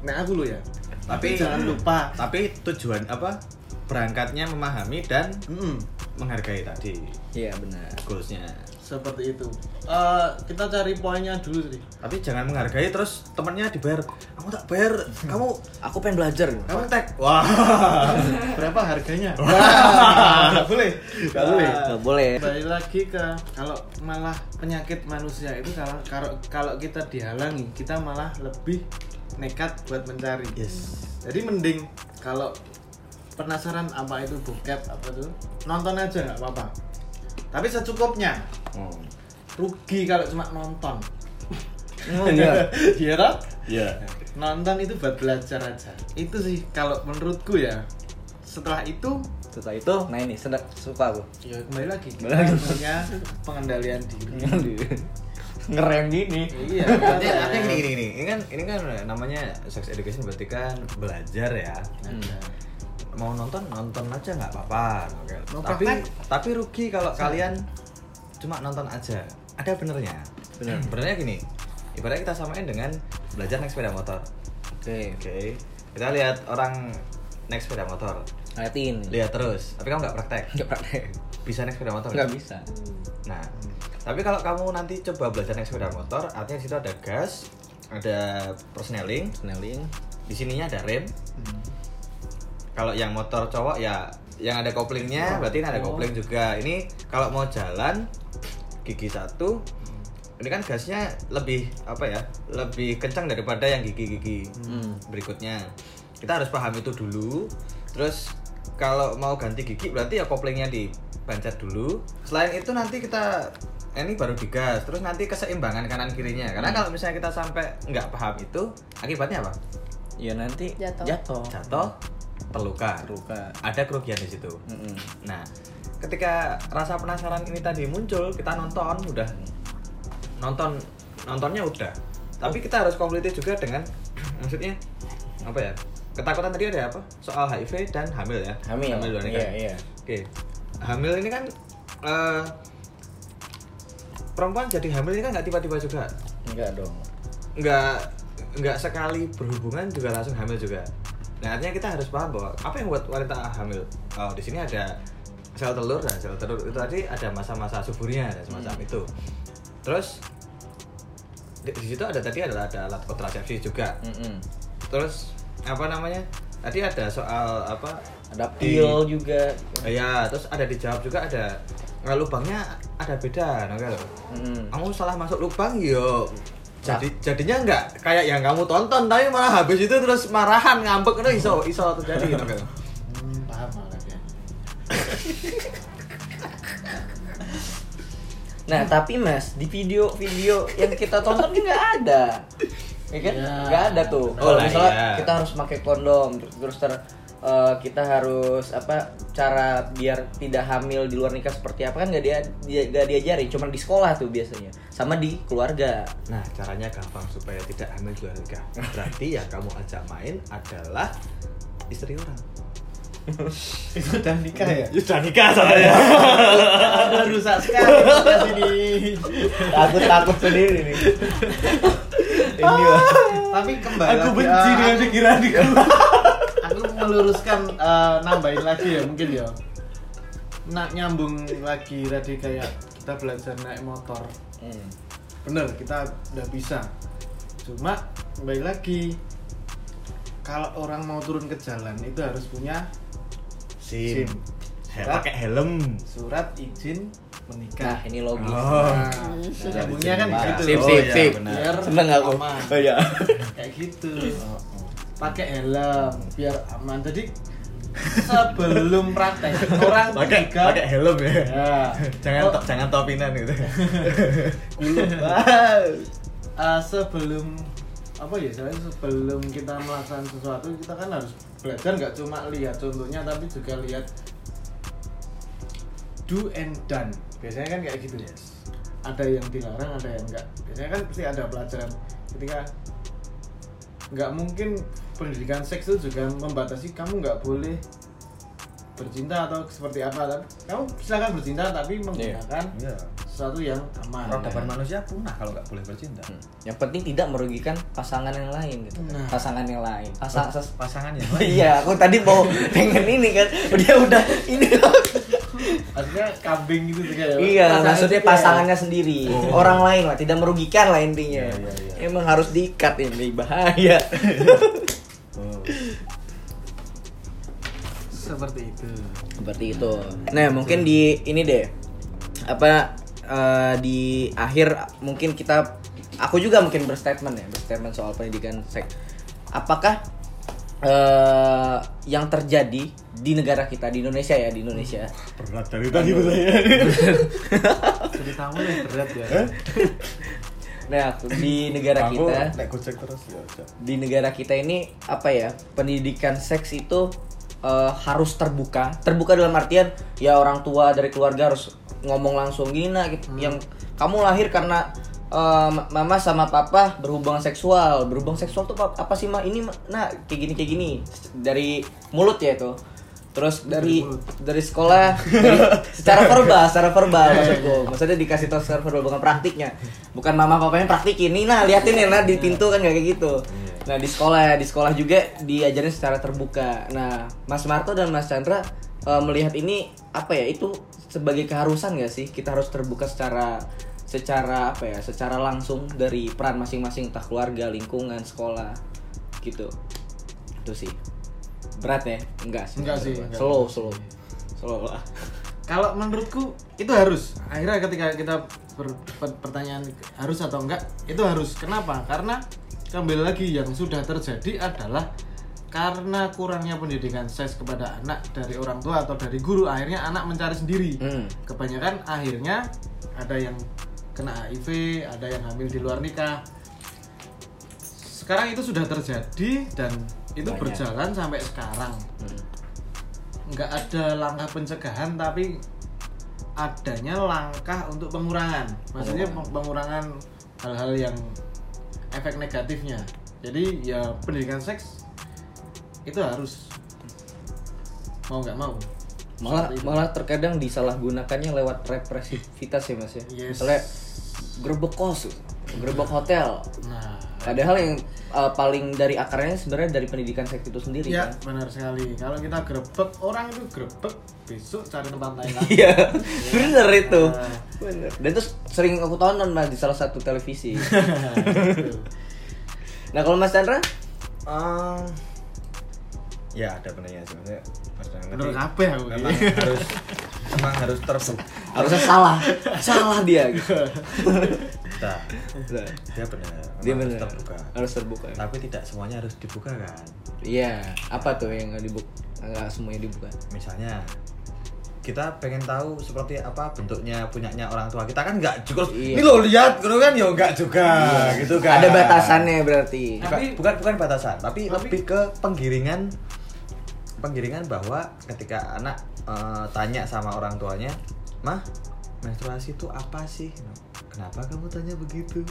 [SPEAKER 3] nah aku lo ya tapi jangan lupa
[SPEAKER 5] Tapi tujuan apa? Berangkatnya memahami dan
[SPEAKER 3] Mm-mm.
[SPEAKER 5] menghargai tadi
[SPEAKER 1] Iya, benar.
[SPEAKER 5] goalsnya.
[SPEAKER 3] seperti itu Eh, kita cari poinnya dulu sih
[SPEAKER 5] Tapi jangan menghargai terus temennya dibayar. Kamu tak bayar, kamu
[SPEAKER 1] Aku pengen belajar.
[SPEAKER 5] kamu tag. Wah.
[SPEAKER 3] berapa harganya Wah, nggak boleh Nah, nggak boleh
[SPEAKER 1] Gak Ah, boleh.
[SPEAKER 3] kembali lagi ke kalau malah penyakit manusia itu kalau kalau kalau kita dihalangi kita malah lebih nekat buat mencari
[SPEAKER 5] Yes.
[SPEAKER 3] jadi mending kalau penasaran apa itu bokep apa itu nonton aja nggak apa-apa tapi secukupnya rugi kalau cuma nonton
[SPEAKER 1] Enggak.
[SPEAKER 3] iya toh?
[SPEAKER 5] Iya.
[SPEAKER 3] nonton itu buat belajar aja itu sih kalau menurutku ya setelah itu
[SPEAKER 1] Setelah itu, nah ini sedek suka aku.
[SPEAKER 3] ya kembali lagi kita
[SPEAKER 1] Kembali lagi.
[SPEAKER 3] punya pengendalian diri
[SPEAKER 1] Iya. Ngerem gini.
[SPEAKER 3] iya
[SPEAKER 5] Artinya, artinya gini, gini, gini. Ini kan ini kan namanya sex education berarti kan belajar ya. Mau nonton nonton aja nggak apa-apa. Oke.
[SPEAKER 3] Mau
[SPEAKER 5] Tapi
[SPEAKER 3] praktek?
[SPEAKER 5] tapi rugi kalau kalian cuma nonton aja. Ada benernya.
[SPEAKER 1] Bener.
[SPEAKER 5] Benernya gini. Ibaratnya kita samain dengan belajar naik sepeda motor.
[SPEAKER 1] Oke,
[SPEAKER 5] Oke. Kita lihat orang naik sepeda motor.
[SPEAKER 1] ngeliatin.
[SPEAKER 5] Lihat terus. Tapi kamu nggak praktek.
[SPEAKER 1] Enggak praktek.
[SPEAKER 5] Bisa naik sepeda motor?
[SPEAKER 1] Enggak bisa. Hmm.
[SPEAKER 5] Nah, tapi kalau kamu nanti coba belajar naik sepeda motor, artinya di situ ada gas, ada persneling,
[SPEAKER 1] Seneling.
[SPEAKER 5] di sininya ada rem.
[SPEAKER 3] Hmm.
[SPEAKER 5] Kalau yang motor cowok ya yang ada koplingnya, berarti ini ada kopling juga. Ini kalau mau jalan gigi satu, ini kan gasnya lebih apa ya? Lebih kencang daripada yang gigi-gigi
[SPEAKER 1] Hmm.
[SPEAKER 5] berikutnya. Kita harus paham itu dulu. Terus kalau mau ganti gigi berarti ya koplingnya dipencet dulu. Selain itu nanti kita ini baru digas. Terus nanti keseimbangan kanan kirinya. Karena kalau misalnya kita sampai nggak paham itu, akibatnya apa?
[SPEAKER 1] Ya nanti
[SPEAKER 4] Jatuh.
[SPEAKER 1] Jatuh.
[SPEAKER 5] Jatuh, terluka.
[SPEAKER 1] Oh. Terluka.
[SPEAKER 5] Ada kerugian di situ.
[SPEAKER 1] Mm-mm.
[SPEAKER 5] Nah, ketika rasa penasaran ini tadi muncul, kita nonton udah nonton nontonnya udah. Tapi kita harus komplit juga dengan maksudnya apa ya? Ketakutan tadi ada apa? Soal HIV dan hamil ya.
[SPEAKER 1] Hamil.
[SPEAKER 5] luar nikah.
[SPEAKER 1] Iya, iya.
[SPEAKER 5] Oke. Hamil ini kan eh, perempuan jadi hamil ini kan nggak tiba-tiba juga.
[SPEAKER 1] Enggak dong.
[SPEAKER 5] Nggak nggak sekali berhubungan juga langsung hamil juga. Nah, artinya kita harus paham bahwa apa yang buat wanita hamil? Oh, di sini ada sel telur dan sel telur itu tadi ada masa-masa suburnya dan semacam itu. Terus di, di situ ada tadi adalah ada alat kontrasepsi juga.
[SPEAKER 1] Mm-mm.
[SPEAKER 5] Terus apa namanya? Tadi ada soal apa?
[SPEAKER 1] Ada
[SPEAKER 5] Di-
[SPEAKER 1] pil juga.
[SPEAKER 5] Iya, terus ada dijawab juga ada nah, lubangnya ada beda, nah, kalau
[SPEAKER 1] Mm-mm.
[SPEAKER 5] kamu salah masuk lubang yo. Jadi jadinya nggak kayak yang kamu tonton tapi malah habis itu terus marahan ngambek itu iso iso terjadi nah, kalau.
[SPEAKER 3] Hmm, paham lah ya
[SPEAKER 1] Nah, tapi Mas, di video-video yang kita tonton ini nggak ada. Ya kan?
[SPEAKER 3] Iya.
[SPEAKER 1] Nggak ada tuh.
[SPEAKER 5] Oh,
[SPEAKER 1] Kalau
[SPEAKER 5] lah,
[SPEAKER 1] misalnya
[SPEAKER 5] iya.
[SPEAKER 1] kita harus pakai kondom, terus- terus ter eh, kita harus apa cara biar tidak hamil di luar nikah seperti apa kan nggak dia, dia nggak diajari cuman di sekolah tuh biasanya sama di keluarga
[SPEAKER 5] Nah, caranya gampang supaya tidak hamil di luar nikah. Berarti yang kamu ajak main adalah istri orang.
[SPEAKER 3] itu udah nikah ya
[SPEAKER 5] Sudah nikah soalnya.
[SPEAKER 3] Aduh rusak sekali di sini.
[SPEAKER 1] aku takut sendiri nih
[SPEAKER 5] Ini lah.
[SPEAKER 3] Tapi kembali lagi, ah,
[SPEAKER 5] pikiranku.
[SPEAKER 3] Aku meluruskan eh, nambahin lagi ya mungkin ya. Nak nyambung lagi tadi kayak kita belajar naik motor.
[SPEAKER 1] Hmm.
[SPEAKER 3] Bener kita udah bisa. Cuma kembali lagi kalau orang mau turun ke jalan itu harus punya
[SPEAKER 5] Sim.
[SPEAKER 3] SIM.
[SPEAKER 5] He- Pakai helm.
[SPEAKER 3] surat izin menikah. Nah,
[SPEAKER 1] nah ini logis
[SPEAKER 5] Oh.
[SPEAKER 3] Nyambungnya kan
[SPEAKER 6] Nah,
[SPEAKER 3] gitu.
[SPEAKER 1] sip
[SPEAKER 5] Oh,
[SPEAKER 1] sip
[SPEAKER 5] iya,
[SPEAKER 1] sip
[SPEAKER 5] benar.
[SPEAKER 3] Biar
[SPEAKER 1] seneng aku
[SPEAKER 3] aman.
[SPEAKER 1] oh iya
[SPEAKER 3] kayak gitu pakai helm biar aman jadi sebelum praktek orang
[SPEAKER 5] Pakai
[SPEAKER 3] tiga
[SPEAKER 5] pakai helm ya.
[SPEAKER 3] ya
[SPEAKER 5] Jangan
[SPEAKER 3] Oh,
[SPEAKER 5] to- jangan topinan gitu.
[SPEAKER 3] dulu. Eh, sebelum apa ya istilahnya sebelum kita melakukan sesuatu kita kan harus belajar nggak cuma lihat contohnya tapi juga lihat do and done biasanya kan kayak gitu ada yang dilarang ada yang enggak biasanya kan pasti ada pelajaran ketika nggak mungkin pendidikan seks itu juga membatasi kamu nggak boleh bercinta atau seperti apa tapi kamu silakan bercinta tapi menggunakan
[SPEAKER 5] Iya.
[SPEAKER 3] sesuatu yang aman
[SPEAKER 5] Peradaban manusia punah kalau nggak boleh bercinta.
[SPEAKER 1] yang penting tidak merugikan pasangan yang lain gitu
[SPEAKER 3] Nah.
[SPEAKER 1] pasangan yang lain pasang ses-
[SPEAKER 5] Pasangannya.
[SPEAKER 1] Oh iya, aku tadi mau pengen ini kan, dia udah ini.
[SPEAKER 3] maksudnya kambing gitu juga ya
[SPEAKER 1] iya,
[SPEAKER 3] Pasangan
[SPEAKER 1] maksudnya
[SPEAKER 3] juga ya.
[SPEAKER 1] pasangannya sendiri, orang lain lah, tidak merugikan lah intinya.
[SPEAKER 5] Iya, iya, iya.
[SPEAKER 1] Emang harus diikat ini bahaya.
[SPEAKER 5] Oh.
[SPEAKER 3] seperti itu
[SPEAKER 1] Seperti itu. Nah, mungkin di ini deh apa eh, di akhir mungkin kita aku juga mungkin berstatement ya, berstatement soal pendidikan seks. Apakah eh, yang terjadi di negara kita di Indonesia ya, di Indonesia.
[SPEAKER 5] Berat dari tadi ya. bertanya.
[SPEAKER 3] ceritamu yang berat ya
[SPEAKER 5] Eh?
[SPEAKER 1] Nah, di negara
[SPEAKER 5] Aku
[SPEAKER 1] kita
[SPEAKER 5] naik gojek terus ya. udah.
[SPEAKER 1] di negara kita ini apa ya pendidikan seks itu eh, harus terbuka terbuka dalam artian ya orang tua dari keluarga harus ngomong langsung gina gitu yang kamu lahir karena eh, ma- mama sama papa berhubungan seksual berhubungan seksual tuh apa, apa sih ma ini Ma? nah kayak gini kayak gini dari mulut ya itu terus dari dari sekolah dari, secara verbal secara verbal maksudku maksudnya dikasih tahu secara verbal bukan praktiknya bukan mama papanya praktikin nih nah liatin ya nah di pintu kan gak kayak gitu nah di sekolah ya di sekolah juga diajarin secara terbuka nah Mas Marto dan Mas Chandra eh, melihat ini apa ya itu sebagai keharusan gak sih kita harus terbuka secara secara apa ya secara langsung dari peran masing-masing entah keluarga lingkungan sekolah gitu itu sih berat ya enggak sih
[SPEAKER 3] Enggak sih, enggak.
[SPEAKER 1] slow slow slow lah
[SPEAKER 3] kalau menurutku itu harus akhirnya ketika kita ber- per- pertanyaan harus atau enggak itu harus kenapa karena kembali lagi yang sudah terjadi adalah karena kurangnya pendidikan seks kepada anak dari orang tua atau dari guru akhirnya anak mencari sendiri
[SPEAKER 1] Hmm.
[SPEAKER 3] kebanyakan akhirnya ada yang kena HIV ada yang hamil di luar nikah sekarang itu sudah terjadi dan itu
[SPEAKER 1] Banyak.
[SPEAKER 3] berjalan sampai sekarang nggak ada langkah pencegahan tapi adanya langkah untuk pengurangan maksudnya
[SPEAKER 1] Pengurangan.
[SPEAKER 3] peng- pengurangan hal-hal yang efek negatifnya jadi ya pendidikan seks itu harus mau nggak mau
[SPEAKER 1] malah
[SPEAKER 3] Seperti itu.
[SPEAKER 1] malah terkadang disalahgunakannya lewat represivitas ya mas ya
[SPEAKER 3] Yes.
[SPEAKER 1] misalnya gerbek kos gerbek hotel
[SPEAKER 3] nah
[SPEAKER 1] padahal yang uh, paling dari akarnya sebenarnya dari pendidikan seks itu sendiri
[SPEAKER 3] ya
[SPEAKER 1] kan
[SPEAKER 3] benar sekali kalau kita grebek orang itu grebek besok cari tempat lain lagi
[SPEAKER 1] Iya, bener itu.
[SPEAKER 3] Nah.
[SPEAKER 1] Bener. Dan terus sering aku tonton mas di salah satu televisi.
[SPEAKER 3] Gitu.
[SPEAKER 1] nah kalau Mas Chandra,
[SPEAKER 5] Ehm, ya ada benernya sih maksudnya pertanyaan
[SPEAKER 3] Bener
[SPEAKER 5] tadi
[SPEAKER 1] ya,
[SPEAKER 3] kabeh aku
[SPEAKER 5] memang
[SPEAKER 3] ini.
[SPEAKER 5] harus memang harus terbuka
[SPEAKER 1] harusnya salah, salah dia. Gitu.
[SPEAKER 3] Nah.
[SPEAKER 5] dia benar memang
[SPEAKER 1] Dia
[SPEAKER 5] harus
[SPEAKER 1] bener.
[SPEAKER 5] terbuka
[SPEAKER 1] Harus terbuka.
[SPEAKER 5] tapi tidak semuanya harus dibuka kan
[SPEAKER 1] Iya, apa tuh yang nggak dibuka? Nggak semuanya dibuka.
[SPEAKER 5] misalnya kita pengen tahu seperti apa bentuknya punyanya orang tua kita kan nggak juga
[SPEAKER 1] Iya.
[SPEAKER 5] ini lo lihat gitu kan ya nggak juga gitu kan
[SPEAKER 1] Ada batasannya berarti.
[SPEAKER 5] bukan,
[SPEAKER 3] Tapi-
[SPEAKER 5] bukan bukan batasan tapi,
[SPEAKER 3] tapi-
[SPEAKER 5] lebih ke penggiringan penggiringan bahwa ketika anak eh, tanya sama orang tuanya mah menstruasi itu apa sih kenapa kamu tanya begitu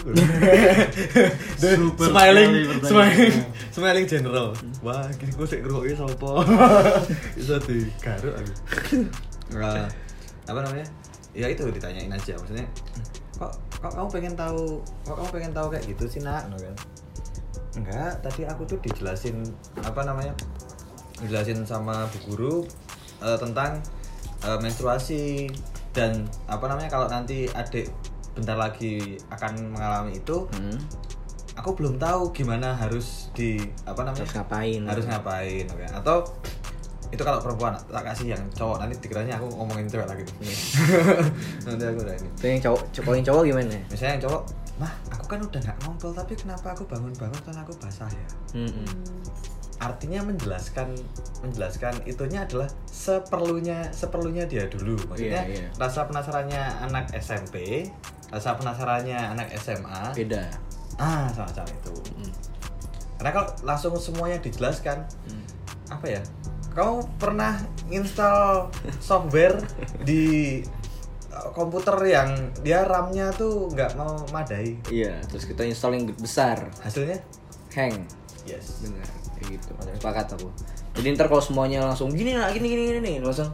[SPEAKER 5] The
[SPEAKER 3] Super
[SPEAKER 5] smiling
[SPEAKER 3] sekali pertanyaannya.
[SPEAKER 5] smiling smiling general wah gini gue sih ngerokoknya sopo bisa digaruk aku Nah, apa namanya ya itu ditanyain aja maksudnya kok kok kamu pengen tahu kok kamu pengen tahu kayak gitu sih nak Gitu kan. enggak tadi aku tuh dijelasin apa namanya dijelasin sama bu guru eh, tentang eh, menstruasi dan apa namanya kalau nanti adik bentar lagi akan mengalami itu
[SPEAKER 6] Hmm.
[SPEAKER 5] aku belum tahu gimana harus di apa namanya
[SPEAKER 1] Harus ngapain?
[SPEAKER 5] harus ngapain oke. atau itu kalau perempuan tak kasih yang cowok nanti dikiranya aku ngomongin cewek lagi nanti aku udah ini
[SPEAKER 1] Tuh yang cowok, cowok yang cowok gimana?
[SPEAKER 5] misalnya yang cowok mah aku kan udah nggak ngompol tapi kenapa aku bangun-bangun kan aku basah ya
[SPEAKER 1] Mm-mm.
[SPEAKER 5] artinya menjelaskan menjelaskan itunya adalah seperlunya seperlunya dia dulu maksudnya
[SPEAKER 1] Iya, iya.
[SPEAKER 5] rasa penasarannya anak SMP rasa penasarannya anak SMA
[SPEAKER 1] Beda.
[SPEAKER 5] ah sama-sama itu
[SPEAKER 1] Hmm.
[SPEAKER 5] karena kalau langsung semuanya dijelaskan
[SPEAKER 1] Hmm.
[SPEAKER 5] apa ya kau pernah install software di uh, komputer yang dia RAM-nya tuh nggak mau madai
[SPEAKER 1] Iya, terus kita install yang besar,
[SPEAKER 5] hasilnya
[SPEAKER 1] hang.
[SPEAKER 5] yes
[SPEAKER 1] Bener, kayak gitu. Sepakat aku. Jadi ntar kalau semuanya langsung gini lah, gini gini gini nih, langsung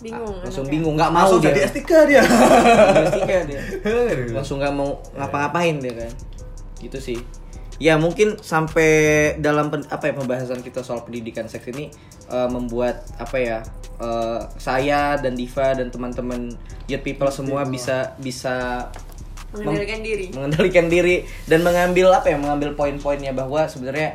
[SPEAKER 4] bingung
[SPEAKER 1] Ah,
[SPEAKER 4] ya?
[SPEAKER 1] langsung
[SPEAKER 4] anaknya.
[SPEAKER 1] bingung, nggak mau
[SPEAKER 5] langsung jadi
[SPEAKER 1] dia.
[SPEAKER 5] S3 dia
[SPEAKER 1] Pasti kan dia.
[SPEAKER 5] Aduh.
[SPEAKER 1] Langsung nggak mau ngapa-ngapain dia kan. Gitu sih. Ya mungkin sampai dalam pen- apa ya pembahasan kita soal pendidikan seks ini eh, membuat apa ya eh, saya dan Diva dan teman-teman Youth People semua bisa bisa mem-
[SPEAKER 4] mengendalikan diri
[SPEAKER 1] mengendalikan diri dan mengambil apa ya mengambil poin-poinnya bahwa sebenarnya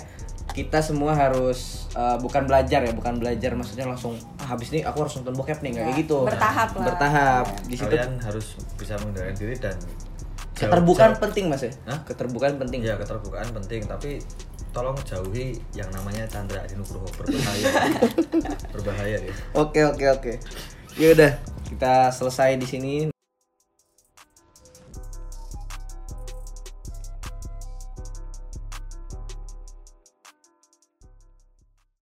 [SPEAKER 1] kita semua harus eh, bukan belajar ya bukan belajar maksudnya langsung "Ah, habis ini aku harus nonton bokep nih nggak kayak
[SPEAKER 4] Ya,
[SPEAKER 1] gitu
[SPEAKER 4] bertahap lah. Iya.
[SPEAKER 1] bertahap di situ
[SPEAKER 5] kalian harus bisa mengendalikan diri dan jauh-
[SPEAKER 1] keterbukaan
[SPEAKER 5] jauh-
[SPEAKER 1] penting mas ya
[SPEAKER 5] Hah?
[SPEAKER 1] keterbukaan penting
[SPEAKER 5] ya keterbukaan penting tapi tolong jauhi yang namanya Chandra di Nugroho berbahaya berbahaya dia
[SPEAKER 1] oke oke oke ya udah kita selesai di sini